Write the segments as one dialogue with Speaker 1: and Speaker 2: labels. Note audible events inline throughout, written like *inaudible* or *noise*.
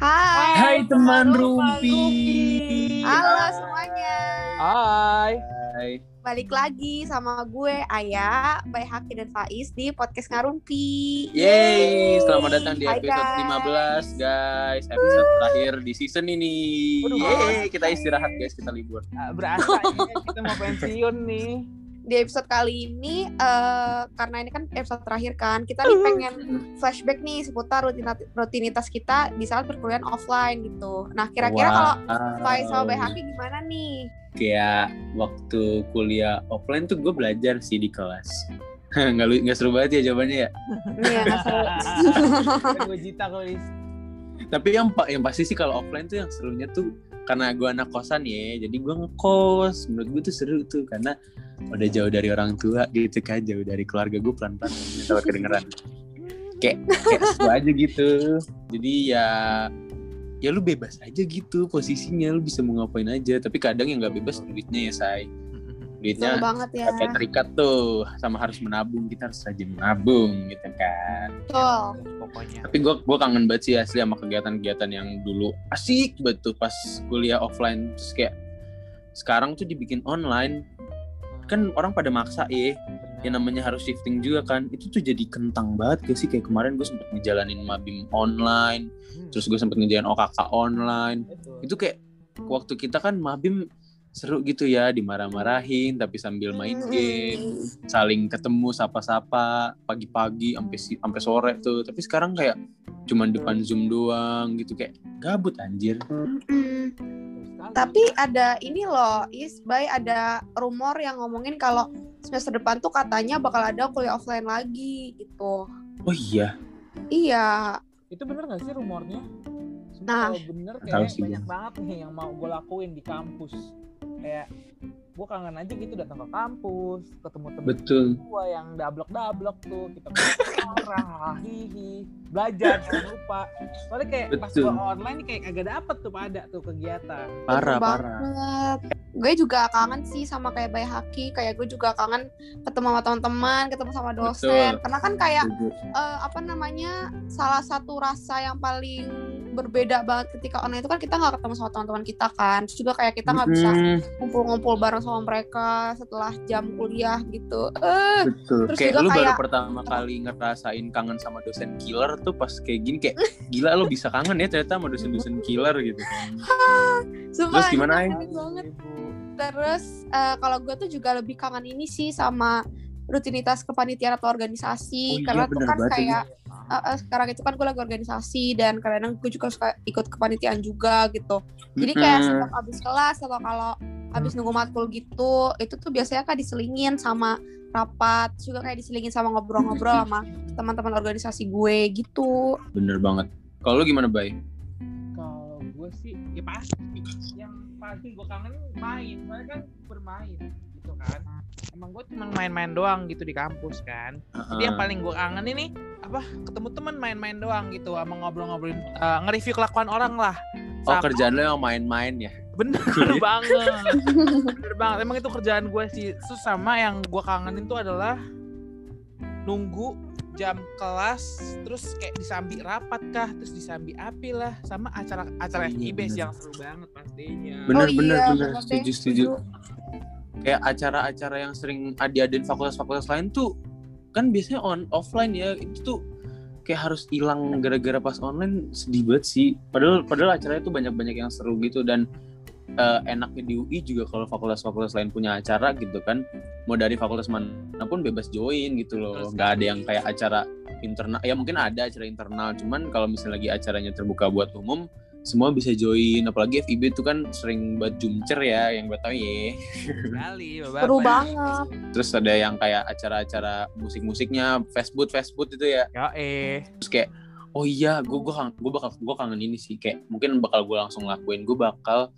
Speaker 1: Hai.
Speaker 2: Hai teman
Speaker 3: Rumpi.
Speaker 2: Rumpi.
Speaker 1: Halo semuanya.
Speaker 3: Hai.
Speaker 2: Hai.
Speaker 1: Balik lagi sama gue Aya, Bay Haki dan Faiz di podcast Ngarumpi.
Speaker 2: Yeay, selamat datang di
Speaker 1: Hai,
Speaker 2: episode
Speaker 1: guys.
Speaker 2: 15 guys. Episode terakhir di season ini.
Speaker 3: Waduh,
Speaker 2: Yeay, kita istirahat guys, kita libur.
Speaker 3: Ah, Berasa ya, kita mau pensiun nih.
Speaker 1: Di episode kali ini eh, karena ini kan episode terakhir kan, kita nih pengen flashback nih seputar rutinat- rutinitas kita di saat perkuliahan offline gitu. Nah, kira-kira kalau Faiz sama Bay Haki gimana nih?
Speaker 2: kayak waktu kuliah offline tuh gue belajar sih di kelas. *laughs* Nggak, lu- nggak seru banget ya jawabannya ya.
Speaker 1: Nih ya, nggak seru.
Speaker 2: *laughs*
Speaker 3: Gue jita kalau di
Speaker 2: Tapi yang pa- yang pasti sih kalau offline tuh yang serunya tuh karena gue anak kosan ya, jadi gue ngekos. Menurut gue tuh seru tuh karena udah jauh dari orang tua gitu kan, jauh dari keluarga gue pelan-pelan
Speaker 1: *laughs*
Speaker 2: takut kedengeran. Kayak kayak seru aja gitu. Jadi ya ya lu bebas aja gitu posisinya lu bisa mau ngapain aja tapi kadang yang nggak bebas duitnya ya say
Speaker 1: Seru
Speaker 2: duitnya
Speaker 1: banget ya.
Speaker 2: Kayak terikat tuh sama harus menabung kita harus rajin menabung gitu kan
Speaker 1: Betul.
Speaker 3: pokoknya.
Speaker 2: tapi gue gue kangen banget sih asli sama kegiatan-kegiatan yang dulu asik banget tuh pas kuliah offline terus kayak sekarang tuh dibikin online kan orang pada maksa ya yang namanya harus shifting juga kan itu tuh jadi kentang banget gak sih kayak kemarin gue sempet ngejalanin mabim online
Speaker 1: Hmm.
Speaker 2: terus gue sempet ngejalanin OKK online itu kayak waktu kita kan mabim seru gitu ya dimarah-marahin tapi sambil main
Speaker 1: Hmm.
Speaker 2: game saling ketemu sapa-sapa pagi-pagi sampai si- sampai sore tuh tapi sekarang kayak cuman depan zoom doang gitu kayak gabut anjir
Speaker 1: Mm-mm. Hmm,
Speaker 2: Oh,
Speaker 1: Tapi
Speaker 2: gitu.
Speaker 1: ada ini loh, Is, Bay ada rumor yang ngomongin kalau semester depan tuh katanya bakal ada kuliah offline lagi gitu.
Speaker 2: oh iya
Speaker 1: Iya,
Speaker 3: itu bener gak sih rumornya? Sumpah,
Speaker 1: Nah.
Speaker 3: kalau bener
Speaker 2: Tahu
Speaker 3: kayak
Speaker 2: sih
Speaker 3: banyak banget nih yang mau gue lakuin di kampus. Kayak gue kangen aja gitu datang ke kampus, ketemu temen
Speaker 2: betul
Speaker 3: gue yang dablek-dablek tuh kita marah *laughs* hihi belajar jangan lupa soalnya kayak pas
Speaker 2: Betul.
Speaker 3: gue online nih kayak agak dapet tuh pada tuh kegiatan
Speaker 2: parah
Speaker 1: bener
Speaker 2: parah
Speaker 1: banget. Gue juga kangen sih sama kayak Bay Haki, kayak gue juga kangen ketemu sama teman-teman, ketemu sama dosen.
Speaker 2: Betul.
Speaker 1: Karena kan kayak
Speaker 2: Setuju.
Speaker 1: eh, apa namanya? salah satu rasa yang paling berbeda banget ketika online itu kan kita nggak ketemu sama teman-teman kita kan. Terus juga kayak kita nggak bisa
Speaker 2: Mm,
Speaker 1: ngumpul-ngumpul bareng sama mereka setelah jam kuliah gitu. Eh,
Speaker 2: betul
Speaker 1: Terus
Speaker 2: kayak
Speaker 1: juga
Speaker 2: lu baru
Speaker 1: kayak-
Speaker 2: pertama kali ngerasain kangen sama dosen killer tuh pas kayak gini kayak gila lo bisa kangen ya ternyata sama dosen-dosen killer gitu kan
Speaker 1: Sumpah,
Speaker 2: Terus gimana,
Speaker 1: ini
Speaker 2: Aing?
Speaker 1: kangen banget.
Speaker 3: Ibu.
Speaker 1: Terus eh, kalau gue tuh juga lebih kangen ini sih sama rutinitas kepanitiaan atau
Speaker 2: Oh
Speaker 1: organisasi
Speaker 2: iya,
Speaker 1: karena tuh
Speaker 2: bener
Speaker 1: kan
Speaker 2: banget ini.
Speaker 3: ya,
Speaker 1: kayak eh, eh, sekarang itu kan gue lagi organisasi dan kadang gue juga suka ikut kepanitiaan juga gitu. Jadi kayak
Speaker 2: Mm-mm.
Speaker 1: setiap abis kelas atau kalau abis nunggu matkul gitu, itu tuh biasanya kan diselingin sama rapat, terus juga kayak diselingin sama ngobrol-ngobrol sama teman-teman organisasi gue gitu.
Speaker 2: bener banget kalau lu gimana bay
Speaker 3: kalau gue sih ya pasti yang pasti gue kangen main soalnya kan bermain gitu kan emang gue cuma main-main doang gitu di kampus kan Jadi yang paling gue kangen ini apa ketemu temen main-main doang gitu sama ngobrol-ngobrolin eh, nge-review kelakuan orang lah.
Speaker 2: oh
Speaker 3: Sama-
Speaker 2: kerjaan lo yang main-main ya
Speaker 3: bener
Speaker 1: *laughs*
Speaker 3: banget. bener banget. Emang itu kerjaan gue sih. Terus sama yang gue kangenin tuh adalah nunggu jam kelas terus kayak disambi rapat kah terus disambi api lah sama acara acara
Speaker 2: Iya,
Speaker 3: FIB sih
Speaker 2: bener.
Speaker 3: yang seru banget pastinya
Speaker 2: Bener,
Speaker 1: Oh
Speaker 2: bener,
Speaker 1: iya,
Speaker 2: bener.
Speaker 1: bener deh.
Speaker 2: Setuju, setuju. kayak acara-acara yang sering diadain fakultas-fakultas lain tuh kan biasanya on offline ya itu tuh kayak harus hilang gara-gara pas online sedih banget sih padahal padahal acaranya tuh banyak-banyak yang seru gitu dan eh, enaknya di UI juga kalau fakultas-fakultas lain punya acara gitu kan mau dari fakultas manapun bebas join gitu loh
Speaker 3: Betul sekali.
Speaker 2: nggak ada yang kayak acara internal ya mungkin ada acara internal cuman kalau misalnya lagi acaranya terbuka buat umum semua bisa join apalagi FIB itu kan sering buat jumcer ya yang gue tau ya
Speaker 3: kali
Speaker 1: Seru
Speaker 3: ya?
Speaker 1: banget.
Speaker 2: terus ada yang kayak acara-acara musik-musiknya fast food fast food itu ya
Speaker 3: ya eh
Speaker 2: terus kayak oh iya gue gue gue bakal gue kangen ini sih kayak mungkin bakal gue langsung lakuin gue bakal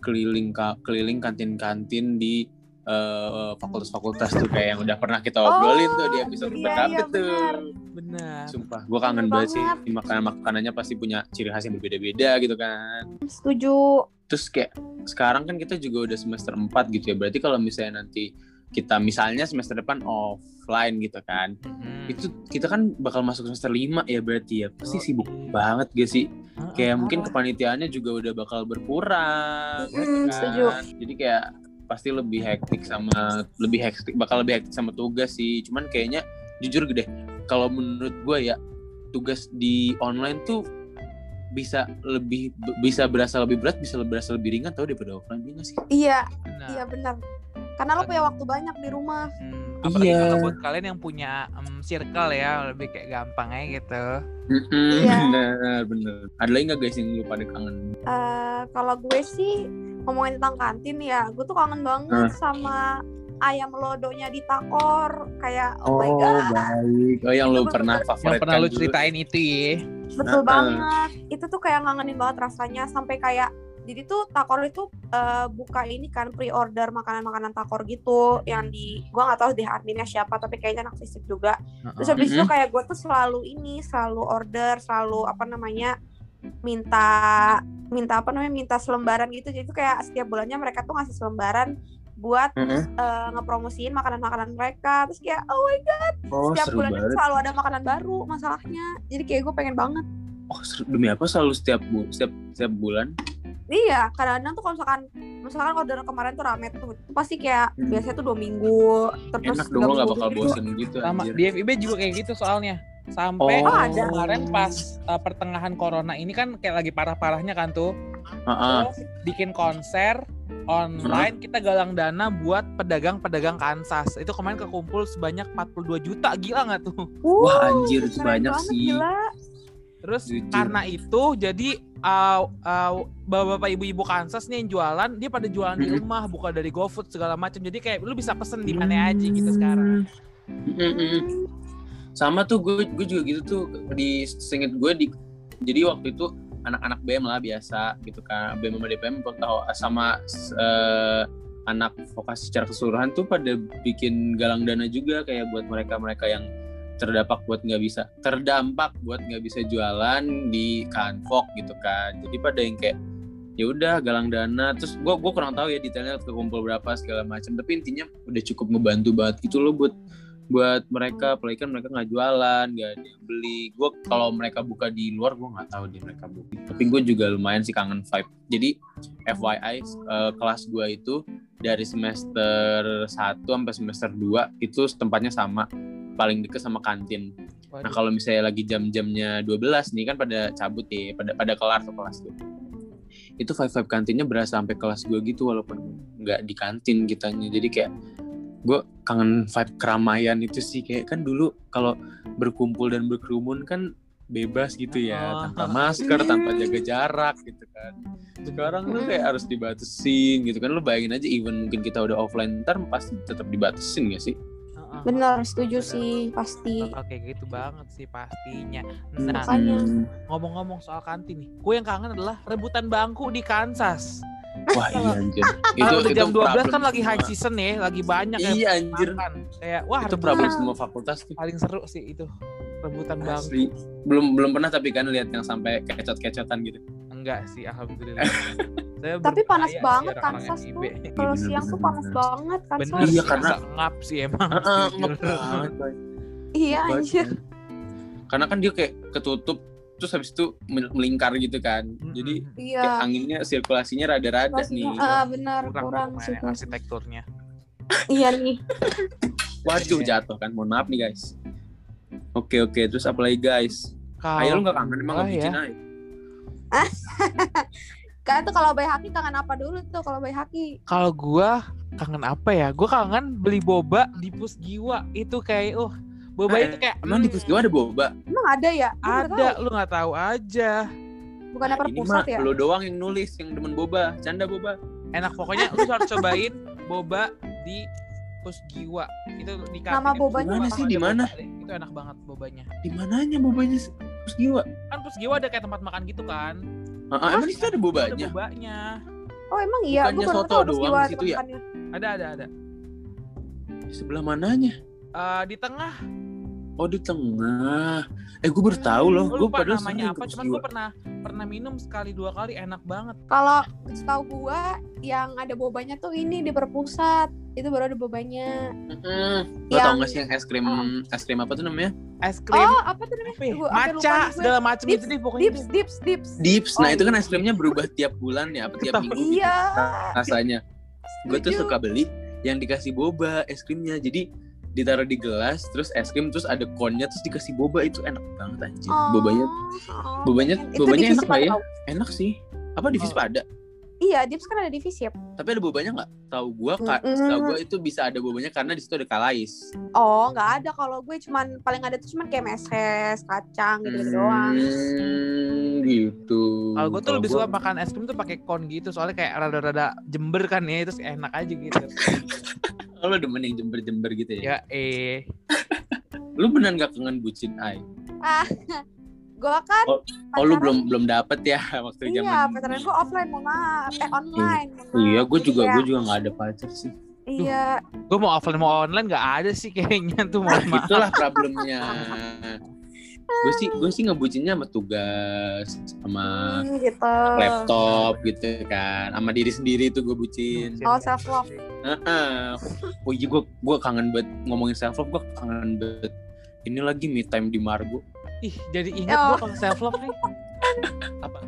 Speaker 2: keliling ka- keliling kantin-kantin di eh, fakultas-fakultas tuh kayak yang udah pernah kita obrolin tuh di episode
Speaker 1: Oh, iya,
Speaker 2: pertama
Speaker 1: iya,
Speaker 2: tuh
Speaker 1: benar. Iya
Speaker 3: benar
Speaker 2: sumpah gue kangen
Speaker 1: Bener
Speaker 2: banget sih makanan makanannya pasti punya ciri khas yang berbeda-beda gitu kan
Speaker 1: Setuju.
Speaker 2: terus kayak sekarang kan kita juga udah semester 4 gitu ya berarti kalau misalnya nanti kita misalnya semester depan offline gitu kan
Speaker 3: Mhm.
Speaker 1: Hmm.
Speaker 2: itu kita kan bakal masuk semester 5 ya berarti ya pasti
Speaker 3: Yoi.
Speaker 2: sibuk banget gak sih
Speaker 1: Oh.
Speaker 2: kayak mungkin kepanitiaannya juga udah bakal berkurang ya kan?
Speaker 1: Mm, setuju.
Speaker 2: jadi kayak pasti lebih hektik sama lebih hektik bakal lebih hektik sama tugas sih cuman kayaknya jujur gede kalau menurut gue ya tugas di online tuh bisa lebih b- bisa berasa lebih berat bisa berasa lebih ringan tau daripada offline iya nggak sih
Speaker 1: Iya,
Speaker 3: Benar.
Speaker 1: iya benar. Karena lo punya waktu banyak di rumah.
Speaker 3: Hmm, apalagi
Speaker 2: Iya.
Speaker 3: kalau buat kalian yang punya em, circle ya lebih kayak gampang aja gitu.
Speaker 1: Iya.
Speaker 2: *laughs* bener bener ada lagi nggak guys yang lu pada kangen
Speaker 1: Eh, kalau gue sih ngomongin tentang kantin ya, gue tuh kangen banget sama ayam lodonya di Takor. Kayak oh, my god,
Speaker 2: baik oh yang lu
Speaker 1: Itu
Speaker 2: pernah
Speaker 3: Yang
Speaker 2: favoritkan
Speaker 3: pernah lu
Speaker 2: dulu.
Speaker 3: ceritain itu ya.
Speaker 1: betul
Speaker 2: Nah,
Speaker 1: banget. Itu tuh kayak ngangenin banget rasanya sampai kayak jadi tuh Takor itu eh, buka ini kan pre-order makanan-makanan Takor gitu yang di gua nggak tahu deh adminnya siapa tapi kayaknya naksisip juga. Terus habis itu
Speaker 2: Mhm.
Speaker 1: kayak gue tuh selalu ini, selalu order, selalu apa namanya minta minta apa namanya minta selembaran gitu. Jadi tuh kayak setiap bulannya mereka tuh ngasih selembaran buat
Speaker 2: Mhm.
Speaker 1: eh, ngepromosiin makanan-makanan mereka. Terus kayak oh my god,
Speaker 2: oh
Speaker 1: setiap
Speaker 2: seru
Speaker 1: bulannya
Speaker 2: banget
Speaker 1: selalu ada makanan baru masalahnya. Jadi kayak gue pengen banget.
Speaker 2: oh seru. demi apa selalu setiap bu setiap setiap bulan
Speaker 1: Iya, kadang-kadang tuh kalau misalkan misalkan order kemarin tuh rame tuh, itu pasti kayak
Speaker 2: Hmm.
Speaker 1: biasanya tuh dua minggu terus
Speaker 2: enak
Speaker 1: tiga
Speaker 2: dong lo nggak
Speaker 1: minggu
Speaker 2: bakal
Speaker 1: gitu.
Speaker 2: bosen gitu
Speaker 3: Sama
Speaker 2: anjir.
Speaker 3: di FIB juga kayak gitu soalnya. Sampai
Speaker 2: Oh,
Speaker 1: ada.
Speaker 3: kemarin pas eh, pertengahan corona ini kan kayak lagi parah-parahnya kan tuh.
Speaker 2: Ah, Hmm. ah.
Speaker 3: Terus bikin konser online kita galang dana buat pedagang-pedagang Kansas. Itu kemarin kekumpul sebanyak 42 juta gila nggak tuh?
Speaker 2: wah
Speaker 1: Wuh,
Speaker 2: anjir
Speaker 1: keren
Speaker 2: banyak
Speaker 1: banget,
Speaker 2: sih
Speaker 1: gila.
Speaker 3: Terus
Speaker 2: Jujur.
Speaker 3: karena itu jadi uh, uh, bapak-bapak ibu-ibu Kansas nih yang jualan dia pada jualan di
Speaker 2: Mm-mm.
Speaker 3: rumah buka dari GoFood segala macam. Jadi kayak lu bisa pesen di
Speaker 2: Hmm.
Speaker 3: mana aja gitu sekarang.
Speaker 2: Mm-mm. sama tuh gue gue juga gitu tuh di singkat gue di jadi waktu itu anak-anak BM lah biasa gitu kan BM sama DPM gue tahu sama eh, anak vokasi secara keseluruhan tuh pada bikin galang dana juga kayak buat mereka-mereka yang terdampak buat nggak bisa terdampak buat nggak bisa jualan di kanvok gitu kan jadi pada yang kayak ya udah galang dana terus gue gue kurang tahu ya detailnya kekumpul berapa segala macam tapi intinya udah cukup ngebantu banget gitu loh buat buat mereka apalagi kan mereka nggak jualan nggak ada yang beli gue kalau mereka buka di luar gue nggak tahu deh mereka buka tapi gue juga lumayan sih kangen vibe jadi FYI eh, kelas gue itu dari semester 1 sampai semester 2 itu tempatnya sama paling deket sama kantin Nah
Speaker 3: Waduh.
Speaker 2: kalau misalnya lagi jam-jamnya 12 nih kan pada cabut nih, pada pada kelar tuh kelas tuh. Itu five five kantinnya berasa sampai kelas gue gitu walaupun nggak di kantin kitanya. Jadi kayak gue kangen vibe keramaian itu sih kayak kan dulu kalau berkumpul dan berkerumun kan bebas gitu
Speaker 3: Oh.
Speaker 2: ya tanpa masker tanpa jaga jarak gitu kan sekarang lu kayak harus dibatasin gitu kan lu bayangin aja even mungkin kita udah offline ntar pasti tetap dibatasin gak sih
Speaker 3: Heeh.
Speaker 1: Bener, setuju
Speaker 3: Bener.
Speaker 1: sih pasti.
Speaker 3: Bakal kayak gitu banget sih pastinya.
Speaker 1: Iya
Speaker 3: Nah,
Speaker 1: Makanya.
Speaker 3: ngomong-ngomong soal kantin nih, gue yang kangen adalah rebutan bangku di Kansas.
Speaker 2: wah iya
Speaker 1: *laughs*
Speaker 2: anjir
Speaker 3: Itu, udah jam 12 kan
Speaker 2: problem
Speaker 3: lagi high
Speaker 2: semua.
Speaker 3: season ya, lagi banyak yang
Speaker 2: Iya anjir.
Speaker 3: makan. Kayak wah
Speaker 2: itu
Speaker 3: harusnya
Speaker 2: problem semua fakultas tuh.
Speaker 3: paling seru sih itu rebutan bangku.
Speaker 2: Asli. Belum belum pernah tapi kan lihat yang sampai kecot-kecotan gitu.
Speaker 3: Enggak sih,
Speaker 2: *laughs*
Speaker 3: alhamdulillah. Saya
Speaker 1: Tapi
Speaker 3: berbahaya
Speaker 1: panas
Speaker 3: sih
Speaker 1: banget
Speaker 3: orang-orang
Speaker 1: Kansas
Speaker 3: FIB.
Speaker 1: tuh. Kalau
Speaker 2: Iya,
Speaker 1: siang tuh
Speaker 2: bener,
Speaker 1: panas
Speaker 2: bener.
Speaker 1: banget kan, Kansas.
Speaker 3: Bener,
Speaker 2: Iya,
Speaker 3: iya
Speaker 2: karena-
Speaker 3: karena ngap sih emang.
Speaker 2: Heeh,
Speaker 3: jujur.
Speaker 2: ngep banget, Bay.
Speaker 1: Iya
Speaker 2: Ngep
Speaker 1: anjir.
Speaker 2: banget. Karena kan dia kayak ketutup terus habis itu mel- melingkar gitu kan. Jadi
Speaker 3: Mm-mm.
Speaker 1: Iya.
Speaker 2: kayak anginnya sirkulasinya rada-rada nih.
Speaker 1: Pastinya, ah, benar kurang,
Speaker 3: *laughs* kurang,
Speaker 1: sih
Speaker 3: kurang
Speaker 1: Kak.
Speaker 3: arsitekturnya.
Speaker 1: Iya nih.
Speaker 2: Waduh jatuh kan. Mohon maaf nih guys. Oke oke terus apa lagi guys?
Speaker 3: Kalau
Speaker 2: Ayo lu gak kangen emang
Speaker 3: gua ya,
Speaker 2: ngebicin aja.
Speaker 1: Kalian tuh kalau bayi haki kangen apa dulu tuh kalau bayi haki?
Speaker 3: Kalau gua kangen apa ya? Gua kangen beli boba di Pusgiwa. Itu kayak uh, boba
Speaker 2: Eh,
Speaker 3: itu kayak hmm,
Speaker 2: Emang
Speaker 1: Hmm.
Speaker 2: di Pusgiwa ada boba?
Speaker 1: Emang ada ya? Gua baru
Speaker 3: ada
Speaker 1: tahu.
Speaker 3: lu nggak tahu aja
Speaker 1: Bukan apa
Speaker 2: Nah, Ini
Speaker 1: pusat
Speaker 2: mah
Speaker 1: ya?
Speaker 2: lu doang yang nulis yang demen boba. Canda boba.
Speaker 3: enak pokoknya lu harus cobain boba di Pusgiwa itu di kantin
Speaker 1: Nama
Speaker 3: di
Speaker 1: bobanya
Speaker 3: Pusgiwa, kalau
Speaker 2: Mana sih,
Speaker 3: ada
Speaker 2: di
Speaker 3: boba
Speaker 2: mana?
Speaker 3: deh. itu enak banget bobanya
Speaker 2: Di mananya bobanya Pusgiwa?
Speaker 3: kan Pusgiwa ada kayak tempat makan gitu kan
Speaker 2: Heeh, emang di situ ada
Speaker 3: ada
Speaker 2: bobanya?
Speaker 3: bobanya
Speaker 1: Oh emang iya.
Speaker 2: Bukannya
Speaker 1: Gue baru
Speaker 2: soto
Speaker 1: tahu
Speaker 2: doang
Speaker 1: Siwa
Speaker 2: di situ ya?
Speaker 1: makannya.
Speaker 3: ada ada ada
Speaker 2: Di sebelah mananya?
Speaker 3: Eh, di tengah
Speaker 2: Oh di tengah. Eh gue baru tahu loh.
Speaker 3: Gue Hmm,
Speaker 2: Gue
Speaker 3: lupa namanya
Speaker 2: padahal sebenarnya
Speaker 3: apa,
Speaker 2: gak
Speaker 3: cuman
Speaker 2: jiwa.
Speaker 3: gue pernah pernah minum sekali dua kali enak banget.
Speaker 1: Kalau setahu gua yang ada bobanya tuh ini di perpusat. Itu baru ada bobanya.
Speaker 2: Mm-mm. Lo tau
Speaker 1: Yang-
Speaker 2: gak sih yang es krim
Speaker 3: Hmm.
Speaker 2: es krim apa tuh namanya?
Speaker 3: Es krim,
Speaker 1: Oh, apa tuh namanya?
Speaker 3: apa ya,
Speaker 1: Gua hampir lupa
Speaker 3: maca,
Speaker 1: nih gue.
Speaker 3: segala macam
Speaker 1: Dips,
Speaker 3: itu deh
Speaker 2: Oh, iya.
Speaker 3: pokoknya.
Speaker 1: Dips, dips, dips.
Speaker 2: Dips.
Speaker 1: Oh,
Speaker 2: Nah itu kan
Speaker 1: iya.
Speaker 2: es krimnya berubah tiap bulan ya, apa tiap
Speaker 3: Betul.
Speaker 2: minggu gitu
Speaker 1: Iya.
Speaker 2: rasanya. Gue tuh
Speaker 1: Setuju.
Speaker 2: suka beli yang dikasih boba es krimnya. Jadi ditaruh di gelas, terus es krim, terus ada konnya, terus dikasih boba itu enak banget anjir. Bobanya
Speaker 1: Oh, oh.
Speaker 2: bobanya
Speaker 1: Itu
Speaker 2: bobanya
Speaker 1: divisi
Speaker 2: enak gak ya?
Speaker 1: pada-
Speaker 2: Enak sih. Apa divisi
Speaker 3: Oh.
Speaker 2: pada?
Speaker 1: Iya, dips kan ada divisi ya.
Speaker 2: Tapi ada bobanya nggak? Tahu gua, Kak.
Speaker 1: Mm-mm.
Speaker 2: Tahu gua itu bisa ada bobanya karena di situ ada kalais.
Speaker 1: Oh, nggak ada. Kalau gue cuman paling ada tuh cuman kayak meses, kacang gitu, -gitu doang.
Speaker 2: Hmm, gitu.
Speaker 3: Kalau gue tuh lebih suka
Speaker 2: gua-
Speaker 3: makan es krim tuh pakai kon gitu, soalnya kayak rada-rada jember kan ya, terus enak aja gitu.
Speaker 2: Oh, Lo demen yang jember-jember gitu ya?
Speaker 3: ya eh,
Speaker 2: Lu benar nggak kangen bucin Ai?
Speaker 1: Ah, gue kan
Speaker 2: Oh, Oh lu
Speaker 1: pacaran-
Speaker 2: belum belum dapet ya *laughs* waktu zaman
Speaker 1: Iya, pacaran gue offline, mohon maaf. Eh, online. mohon maaf.
Speaker 2: Iya, gue
Speaker 1: Jadi ya.
Speaker 2: juga
Speaker 1: kayak,
Speaker 2: gue juga nggak ada pacar
Speaker 3: *laughs*
Speaker 2: sih.
Speaker 1: Iya,
Speaker 3: gue mau offline mau online nggak ada sih kayaknya tuh mohon maaf.
Speaker 2: Itulah problemnya. gue sih gue sih ngebucinnya sama tugas, sama
Speaker 1: hmm, gitu.
Speaker 2: laptop gitu kan, sama diri sendiri tuh gue bucin.
Speaker 1: Oh, self love.
Speaker 2: Heeh. Oh iya gue gue kangen banget ngomongin self love gue kangen banget. Ini lagi me time di Margo.
Speaker 3: Ih, jadi ingat
Speaker 1: Oh.
Speaker 3: gue kalau self love nih.
Speaker 2: Apa?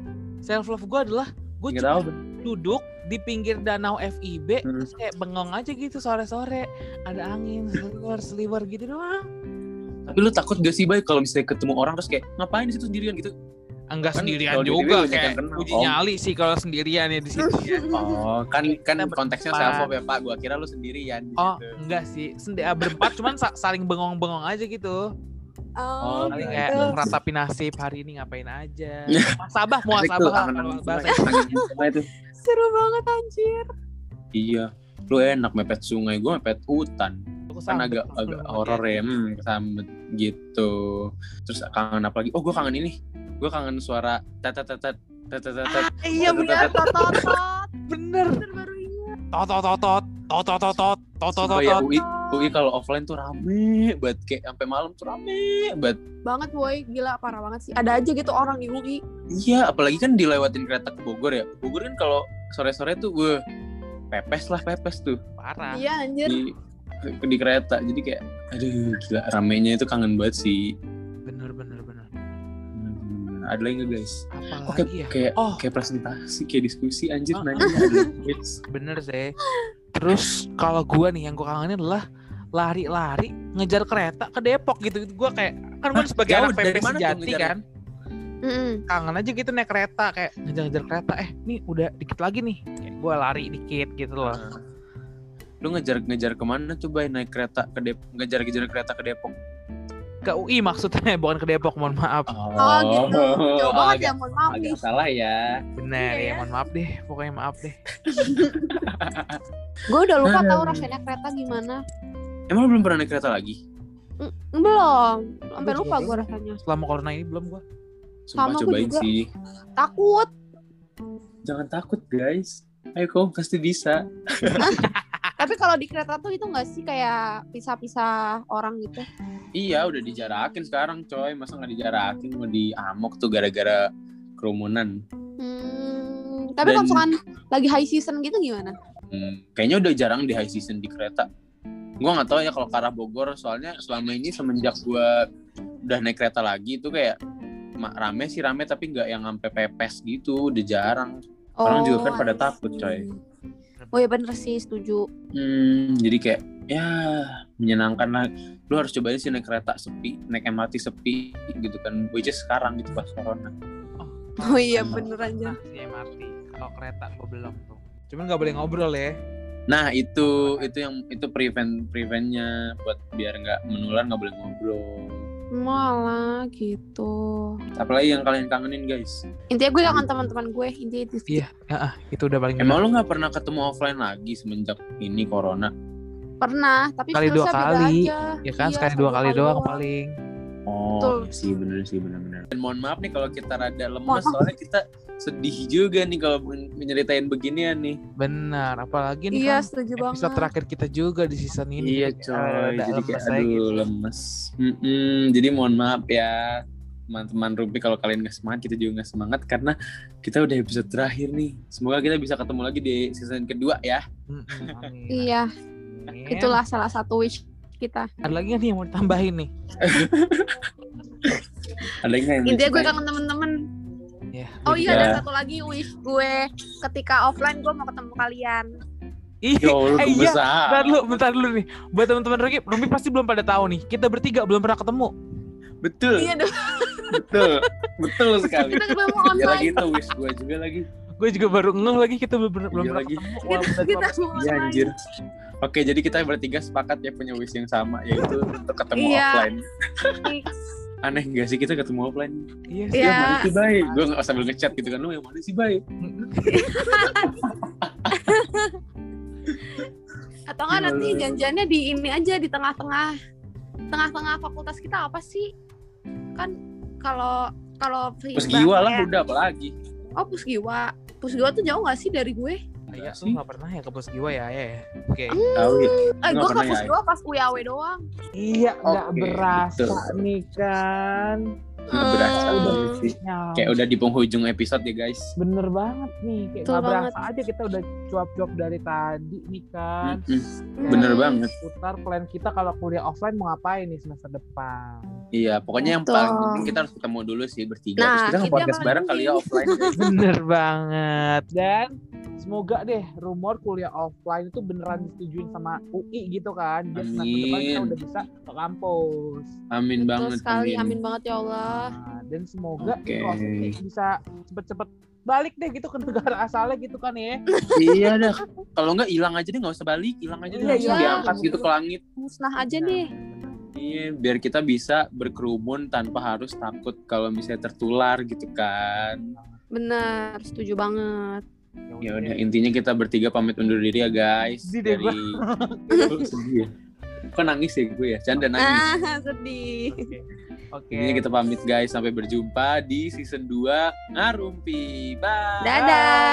Speaker 3: Self love gue adalah gue
Speaker 2: Nggak tahu.
Speaker 3: cuma duduk di pinggir danau FIB
Speaker 2: Mm.
Speaker 3: terus kayak bengong aja gitu sore-sore ada angin seliwer seliwer gitu doang
Speaker 2: Tapi lu takut gak sih baik kalau misalnya ketemu orang terus kayak ngapain di situ sendirian gitu?
Speaker 3: enggak
Speaker 2: Kan
Speaker 3: sendirian
Speaker 2: kalau di
Speaker 3: juga
Speaker 2: TV banyak yang
Speaker 3: kayak
Speaker 2: kenal,
Speaker 3: uji
Speaker 2: Om.
Speaker 3: nyali sih kalau sendirian ya di situ ya.
Speaker 2: Oh, kan kan
Speaker 3: Kita
Speaker 2: konteksnya
Speaker 3: berempat.
Speaker 2: self love ya Pak. Gua kira lu sendirian di
Speaker 3: oh
Speaker 2: situ.
Speaker 3: enggak sih sendi ah, berempat cuman sa- saling bengong-bengong aja gitu
Speaker 1: Oh,
Speaker 2: Oh,
Speaker 3: Saling
Speaker 2: Gitu.
Speaker 3: kayak meratapi nasib hari ini ngapain aja
Speaker 2: Iya.
Speaker 3: muasabah muasabah kalau bahasa
Speaker 2: itu.
Speaker 1: seru banget anjir.
Speaker 2: Iya. Lu enak mepet sungai, gua mepet hutan. Kan agak agak horor ya, hmm, kesambet gitu. Terus kangen apa lagi? Oh, gua kangen ini. Gua kangen suara tet tet tet tet tet tet, tet.
Speaker 3: Ah, iya
Speaker 2: Betul,
Speaker 1: Iya,
Speaker 3: bener
Speaker 1: totot,
Speaker 3: bener
Speaker 1: baru ingat.
Speaker 3: tot tot tot tot tot tot tot tot tot tot
Speaker 2: Sumpah ya,
Speaker 3: tot.
Speaker 2: UI UI kalau offline tuh rame banget kayak sampai malam tuh rame banget.
Speaker 1: Banget, boy. Gila, parah banget sih. Ada aja gitu orang di UI.
Speaker 2: Iya, apalagi kan dilewatin kereta ke Bogor ya. Bogor kan kalau sore-sore tuh wah pepes lah pepes tuh.
Speaker 3: parah
Speaker 2: Ah.
Speaker 1: Iya, anjir.
Speaker 2: di di kereta jadi kayak aduh gila ramenya itu kangen banget sih
Speaker 3: bener bener bener
Speaker 2: Hmm, ada lagi nggak guys
Speaker 3: apa
Speaker 2: oke
Speaker 3: lagi ya
Speaker 2: kayak
Speaker 3: oh
Speaker 2: kayak presentasi kayak diskusi anjir
Speaker 3: Ah,
Speaker 2: nanya ada
Speaker 3: *laughs*
Speaker 2: tips.
Speaker 3: bener sih terus kalau gua nih yang gua kangenin adalah lari-lari ngejar kereta ke Depok gitu gua kayak kan gua
Speaker 2: Hah?
Speaker 3: sebagai
Speaker 2: Jauh,
Speaker 3: anak
Speaker 2: dari
Speaker 3: PP
Speaker 2: mana tuh
Speaker 3: sejati
Speaker 2: ngejarnya?
Speaker 3: kan
Speaker 1: Mm-mm.
Speaker 2: Hmm.
Speaker 3: kangen aja gitu naik kereta kayak ngejar-ngejar kereta eh nih udah dikit lagi nih kayak gua lari dikit gitu loh
Speaker 2: lu ngejar ngejar kemana tuh bay naik kereta ke Depok ngejar ngejar kereta ke Depok
Speaker 3: ke UI maksudnya *laughs* bukan ke Depok mohon maaf
Speaker 2: oh,
Speaker 1: Oh, gitu. Jauh banget ya,
Speaker 2: agak,
Speaker 1: mohon maaf
Speaker 2: agak
Speaker 1: nih.
Speaker 2: salah ya
Speaker 3: bener
Speaker 1: Iya
Speaker 3: ya
Speaker 1: ya.
Speaker 3: mohon maaf deh pokoknya maaf deh
Speaker 1: Gue udah lupa
Speaker 2: Aduh. *laughs*
Speaker 1: tahu rasanya kereta gimana.
Speaker 2: emang lu belum pernah naik kereta lagi
Speaker 1: Belum. Sampai
Speaker 3: Gua juga
Speaker 1: lupa
Speaker 3: belum.
Speaker 1: gue rasanya.
Speaker 3: selama corona ini belum gua
Speaker 2: Sumpah
Speaker 1: Sama, gua
Speaker 2: cobain
Speaker 1: juga.
Speaker 2: sih
Speaker 1: Takut.
Speaker 2: jangan takut guys ayo kamu pasti bisa
Speaker 1: Tapi kalau di kereta tuh itu nggak sih kayak pisah-pisah orang gitu.
Speaker 2: Iya udah dijarakin sekarang coy Masa nggak dijarakin mau diamok tuh gara-gara kerumunan
Speaker 1: Hmm, tapi
Speaker 2: Dan-
Speaker 1: kalau misalkan lagi high season gitu gimana?
Speaker 2: Hmm, Kayaknya udah jarang di high season di kereta Gue nggak tahu ya kalau ke arah Bogor Soalnya selama ini semenjak gue udah naik kereta lagi itu kayak ma- Rame sih rame tapi nggak yang sampai pepes gitu Udah jarang Orang juga kan pada
Speaker 1: I
Speaker 2: takut,
Speaker 1: see.
Speaker 2: coy.
Speaker 1: Oh ya bener sih, setuju. *laughs*
Speaker 2: Hmm, jadi kayak ya menyenangkan lah. Lu harus cobain sih naik kereta sepi, naik MRT sepi gitu kan. Which is sekarang gitu pas corona.
Speaker 1: Oh iya
Speaker 2: Hmm.
Speaker 1: bener aja.
Speaker 3: nah, si MRT kalau kereta gua belum tuh cuman nggak boleh ngobrol ya
Speaker 2: Nah itu itu yang itu prevent preventnya buat biar nggak menular nggak boleh ngobrol.
Speaker 1: Malah gitu.
Speaker 2: Apalagi yang kalian kangenin guys.
Speaker 1: Intinya gue kangen teman-teman gue, intinya itu sih.
Speaker 3: Iya. Ah, ah, itu udah paling
Speaker 2: Emang lu nggak pernah ketemu offline lagi semenjak ini corona?
Speaker 1: Pernah, tapi
Speaker 3: Kali dua
Speaker 1: virusnya beda
Speaker 3: kali.
Speaker 1: aja.
Speaker 3: ya kan
Speaker 1: Iya,
Speaker 3: sekali dua kali doang paling
Speaker 2: Oh,
Speaker 1: Betul.
Speaker 2: iya sih bener sih bener-bener. Dan mohon maaf nih kalau kita rada
Speaker 1: Mohon
Speaker 2: lemes
Speaker 1: maaf.
Speaker 2: soalnya kita sedih juga nih kalau men- menyeritain beginian nih.
Speaker 3: Benar, apalagi nih
Speaker 1: Iya,
Speaker 3: kan
Speaker 1: setuju
Speaker 3: episode
Speaker 1: banget.
Speaker 3: terakhir kita juga di season ini.
Speaker 2: Iya
Speaker 3: Jadi,
Speaker 2: coy,
Speaker 3: rada
Speaker 2: jadi
Speaker 3: lemes
Speaker 2: kayak
Speaker 3: aja
Speaker 2: aduh
Speaker 3: gitu.
Speaker 2: lemes. Mm-mm, jadi mohon maaf ya teman-teman Ruby kalau kalian nggak semangat kita juga nggak semangat karena kita udah episode terakhir nih. Semoga kita bisa ketemu lagi di season kedua ya.
Speaker 3: Mm-mm, amin.
Speaker 1: Iya,
Speaker 3: Amin.
Speaker 1: itulah salah satu wish kita.
Speaker 3: Ada lagi nggak nih yang mau ditambahin nih?
Speaker 2: Ada nggak yang mau
Speaker 1: Intinya gue
Speaker 2: ceritain?
Speaker 1: kangen temen-temen.
Speaker 3: Ya,
Speaker 1: Oh
Speaker 3: gue
Speaker 1: iya,
Speaker 3: juga.
Speaker 2: Iya.
Speaker 1: ada satu lagi wish gue ketika offline gue mau ketemu
Speaker 2: *laughs*
Speaker 1: kalian.
Speaker 3: Ih,
Speaker 2: Ya Allah,
Speaker 3: Eh, iya. *laughs*
Speaker 2: kebesaran.
Speaker 3: bentar dulu, bentar dulu nih. Buat teman-teman Rocky, Rumi pasti belum pada tahu nih. Kita bertiga belum pernah ketemu.
Speaker 2: Betul,
Speaker 1: Iya dong,
Speaker 2: betul,
Speaker 1: *laughs*
Speaker 2: betul sekali. *laughs*
Speaker 1: kita ketemu
Speaker 2: Iya lagi
Speaker 1: online.
Speaker 2: itu wish gue juga lagi.
Speaker 3: Gue juga baru ngeh lagi kita belum belum
Speaker 2: Iya
Speaker 3: pernah
Speaker 2: lagi.
Speaker 3: ketemu. Wah,
Speaker 1: Kita
Speaker 3: bener
Speaker 1: kita
Speaker 3: banget.
Speaker 1: ketemu
Speaker 2: Iya
Speaker 1: online.
Speaker 2: anjir. Oke, jadi kita bertiga sepakat ya punya wish yang sama yaitu untuk ketemu
Speaker 1: Iya.
Speaker 2: offline. Aneh gak sih kita ketemu offline?
Speaker 3: Iya.
Speaker 1: Iya.
Speaker 2: Ya, mana sih baik? Gue nggak sambil ngechat gitu kan, lu yang mana sih baik? Iya.
Speaker 1: Atau nggak
Speaker 2: Iya,
Speaker 1: nanti
Speaker 2: iya.
Speaker 1: janjiannya di ini aja di tengah-tengah tengah-tengah fakultas kita apa sih? Kan kalau kalau
Speaker 2: Pusgiwa lah
Speaker 1: kayak-
Speaker 2: udah apalagi.
Speaker 1: Oh pusgiwa. Pusgiwa tuh jauh gak sih dari gue?
Speaker 3: Iya,
Speaker 2: Enggak
Speaker 3: lu nggak pernah ya ke Bos Giwa ya, ya. ya. Oke.
Speaker 2: Tahu ya.
Speaker 1: Eh,
Speaker 2: Nggak
Speaker 1: gue ke
Speaker 2: pernah ya,
Speaker 1: pusgiwa pas UAW doang.
Speaker 3: Iya, nggak
Speaker 2: Oke, gitu.
Speaker 3: berasa
Speaker 2: betul.
Speaker 3: nih kan.
Speaker 1: Hmm.
Speaker 2: Berasa banget sih.
Speaker 3: Ya,
Speaker 2: Kayak udah di penghujung episode ya guys.
Speaker 3: bener banget nih. Kayak
Speaker 1: Betul
Speaker 3: nggak berasa aja kita udah cuap-cuap dari tadi nih kan.
Speaker 2: Mm-mm. Nah. Bener
Speaker 1: Hmm.
Speaker 2: banget.
Speaker 3: Putar plan kita kalau kuliah offline mau ngapain nih semester
Speaker 2: *laughs*
Speaker 3: depan.
Speaker 2: Iya, pokoknya yang
Speaker 1: Betul.
Speaker 2: paling penting kita harus ketemu dulu sih bertiga.
Speaker 1: Nah,
Speaker 2: Terus kita
Speaker 1: itu yang
Speaker 2: nge-podcast
Speaker 1: paling
Speaker 2: bareng kali ya
Speaker 1: penting.
Speaker 2: offline.
Speaker 1: *laughs*
Speaker 3: Bener banget. Dan semoga deh rumor kuliah offline itu beneran disetujuin sama UI gitu kan. Biar semester depan kita
Speaker 2: Amin.
Speaker 3: udah bisa ke kampus.
Speaker 2: Amin
Speaker 1: Betul
Speaker 2: banget.
Speaker 1: sekali, amin.
Speaker 2: amin.
Speaker 1: banget ya Allah.
Speaker 3: Nah, dan semoga
Speaker 2: Oke.
Speaker 3: ini COVID bisa cepet-cepet balik deh gitu ke negara asalnya gitu kan ya.
Speaker 2: iya dah. Kalau nggak hilang aja deh, nggak usah balik, hilang aja deh
Speaker 3: Iya,
Speaker 2: langsung
Speaker 1: iya.
Speaker 2: diangkat gitu ke langit.
Speaker 1: Musnah aja deh.
Speaker 2: Iya, biar kita bisa berkerumun tanpa harus takut kalau misalnya tertular gitu kan.
Speaker 1: Benar, setuju banget.
Speaker 3: Nah,
Speaker 2: Ya udah intinya kita bertiga pamit undur diri ya guys.
Speaker 3: Sedih deh gua.
Speaker 2: Lu sedih ya? Kok nangis ya gue ya? Canda nangis.
Speaker 1: Ah, *laughs* sedih.
Speaker 3: Oke. Oke.
Speaker 2: Intinya kita pamit guys sampai berjumpa di season 2 Ngarumpi. Bye.
Speaker 1: Dadah.